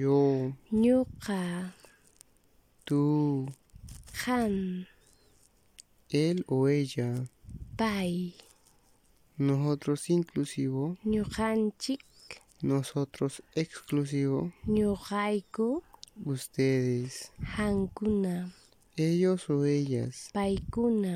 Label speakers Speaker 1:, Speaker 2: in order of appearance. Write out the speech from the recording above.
Speaker 1: yo,
Speaker 2: Ñuqa
Speaker 1: tú,
Speaker 2: qan
Speaker 1: él o ella,
Speaker 2: pay
Speaker 1: nosotros inclusivo,
Speaker 2: ñuqanchik
Speaker 1: nosotros exclusivo,
Speaker 2: ñuqayku
Speaker 1: ustedes,
Speaker 2: hankuna
Speaker 1: ellos o ellas,
Speaker 2: paykuna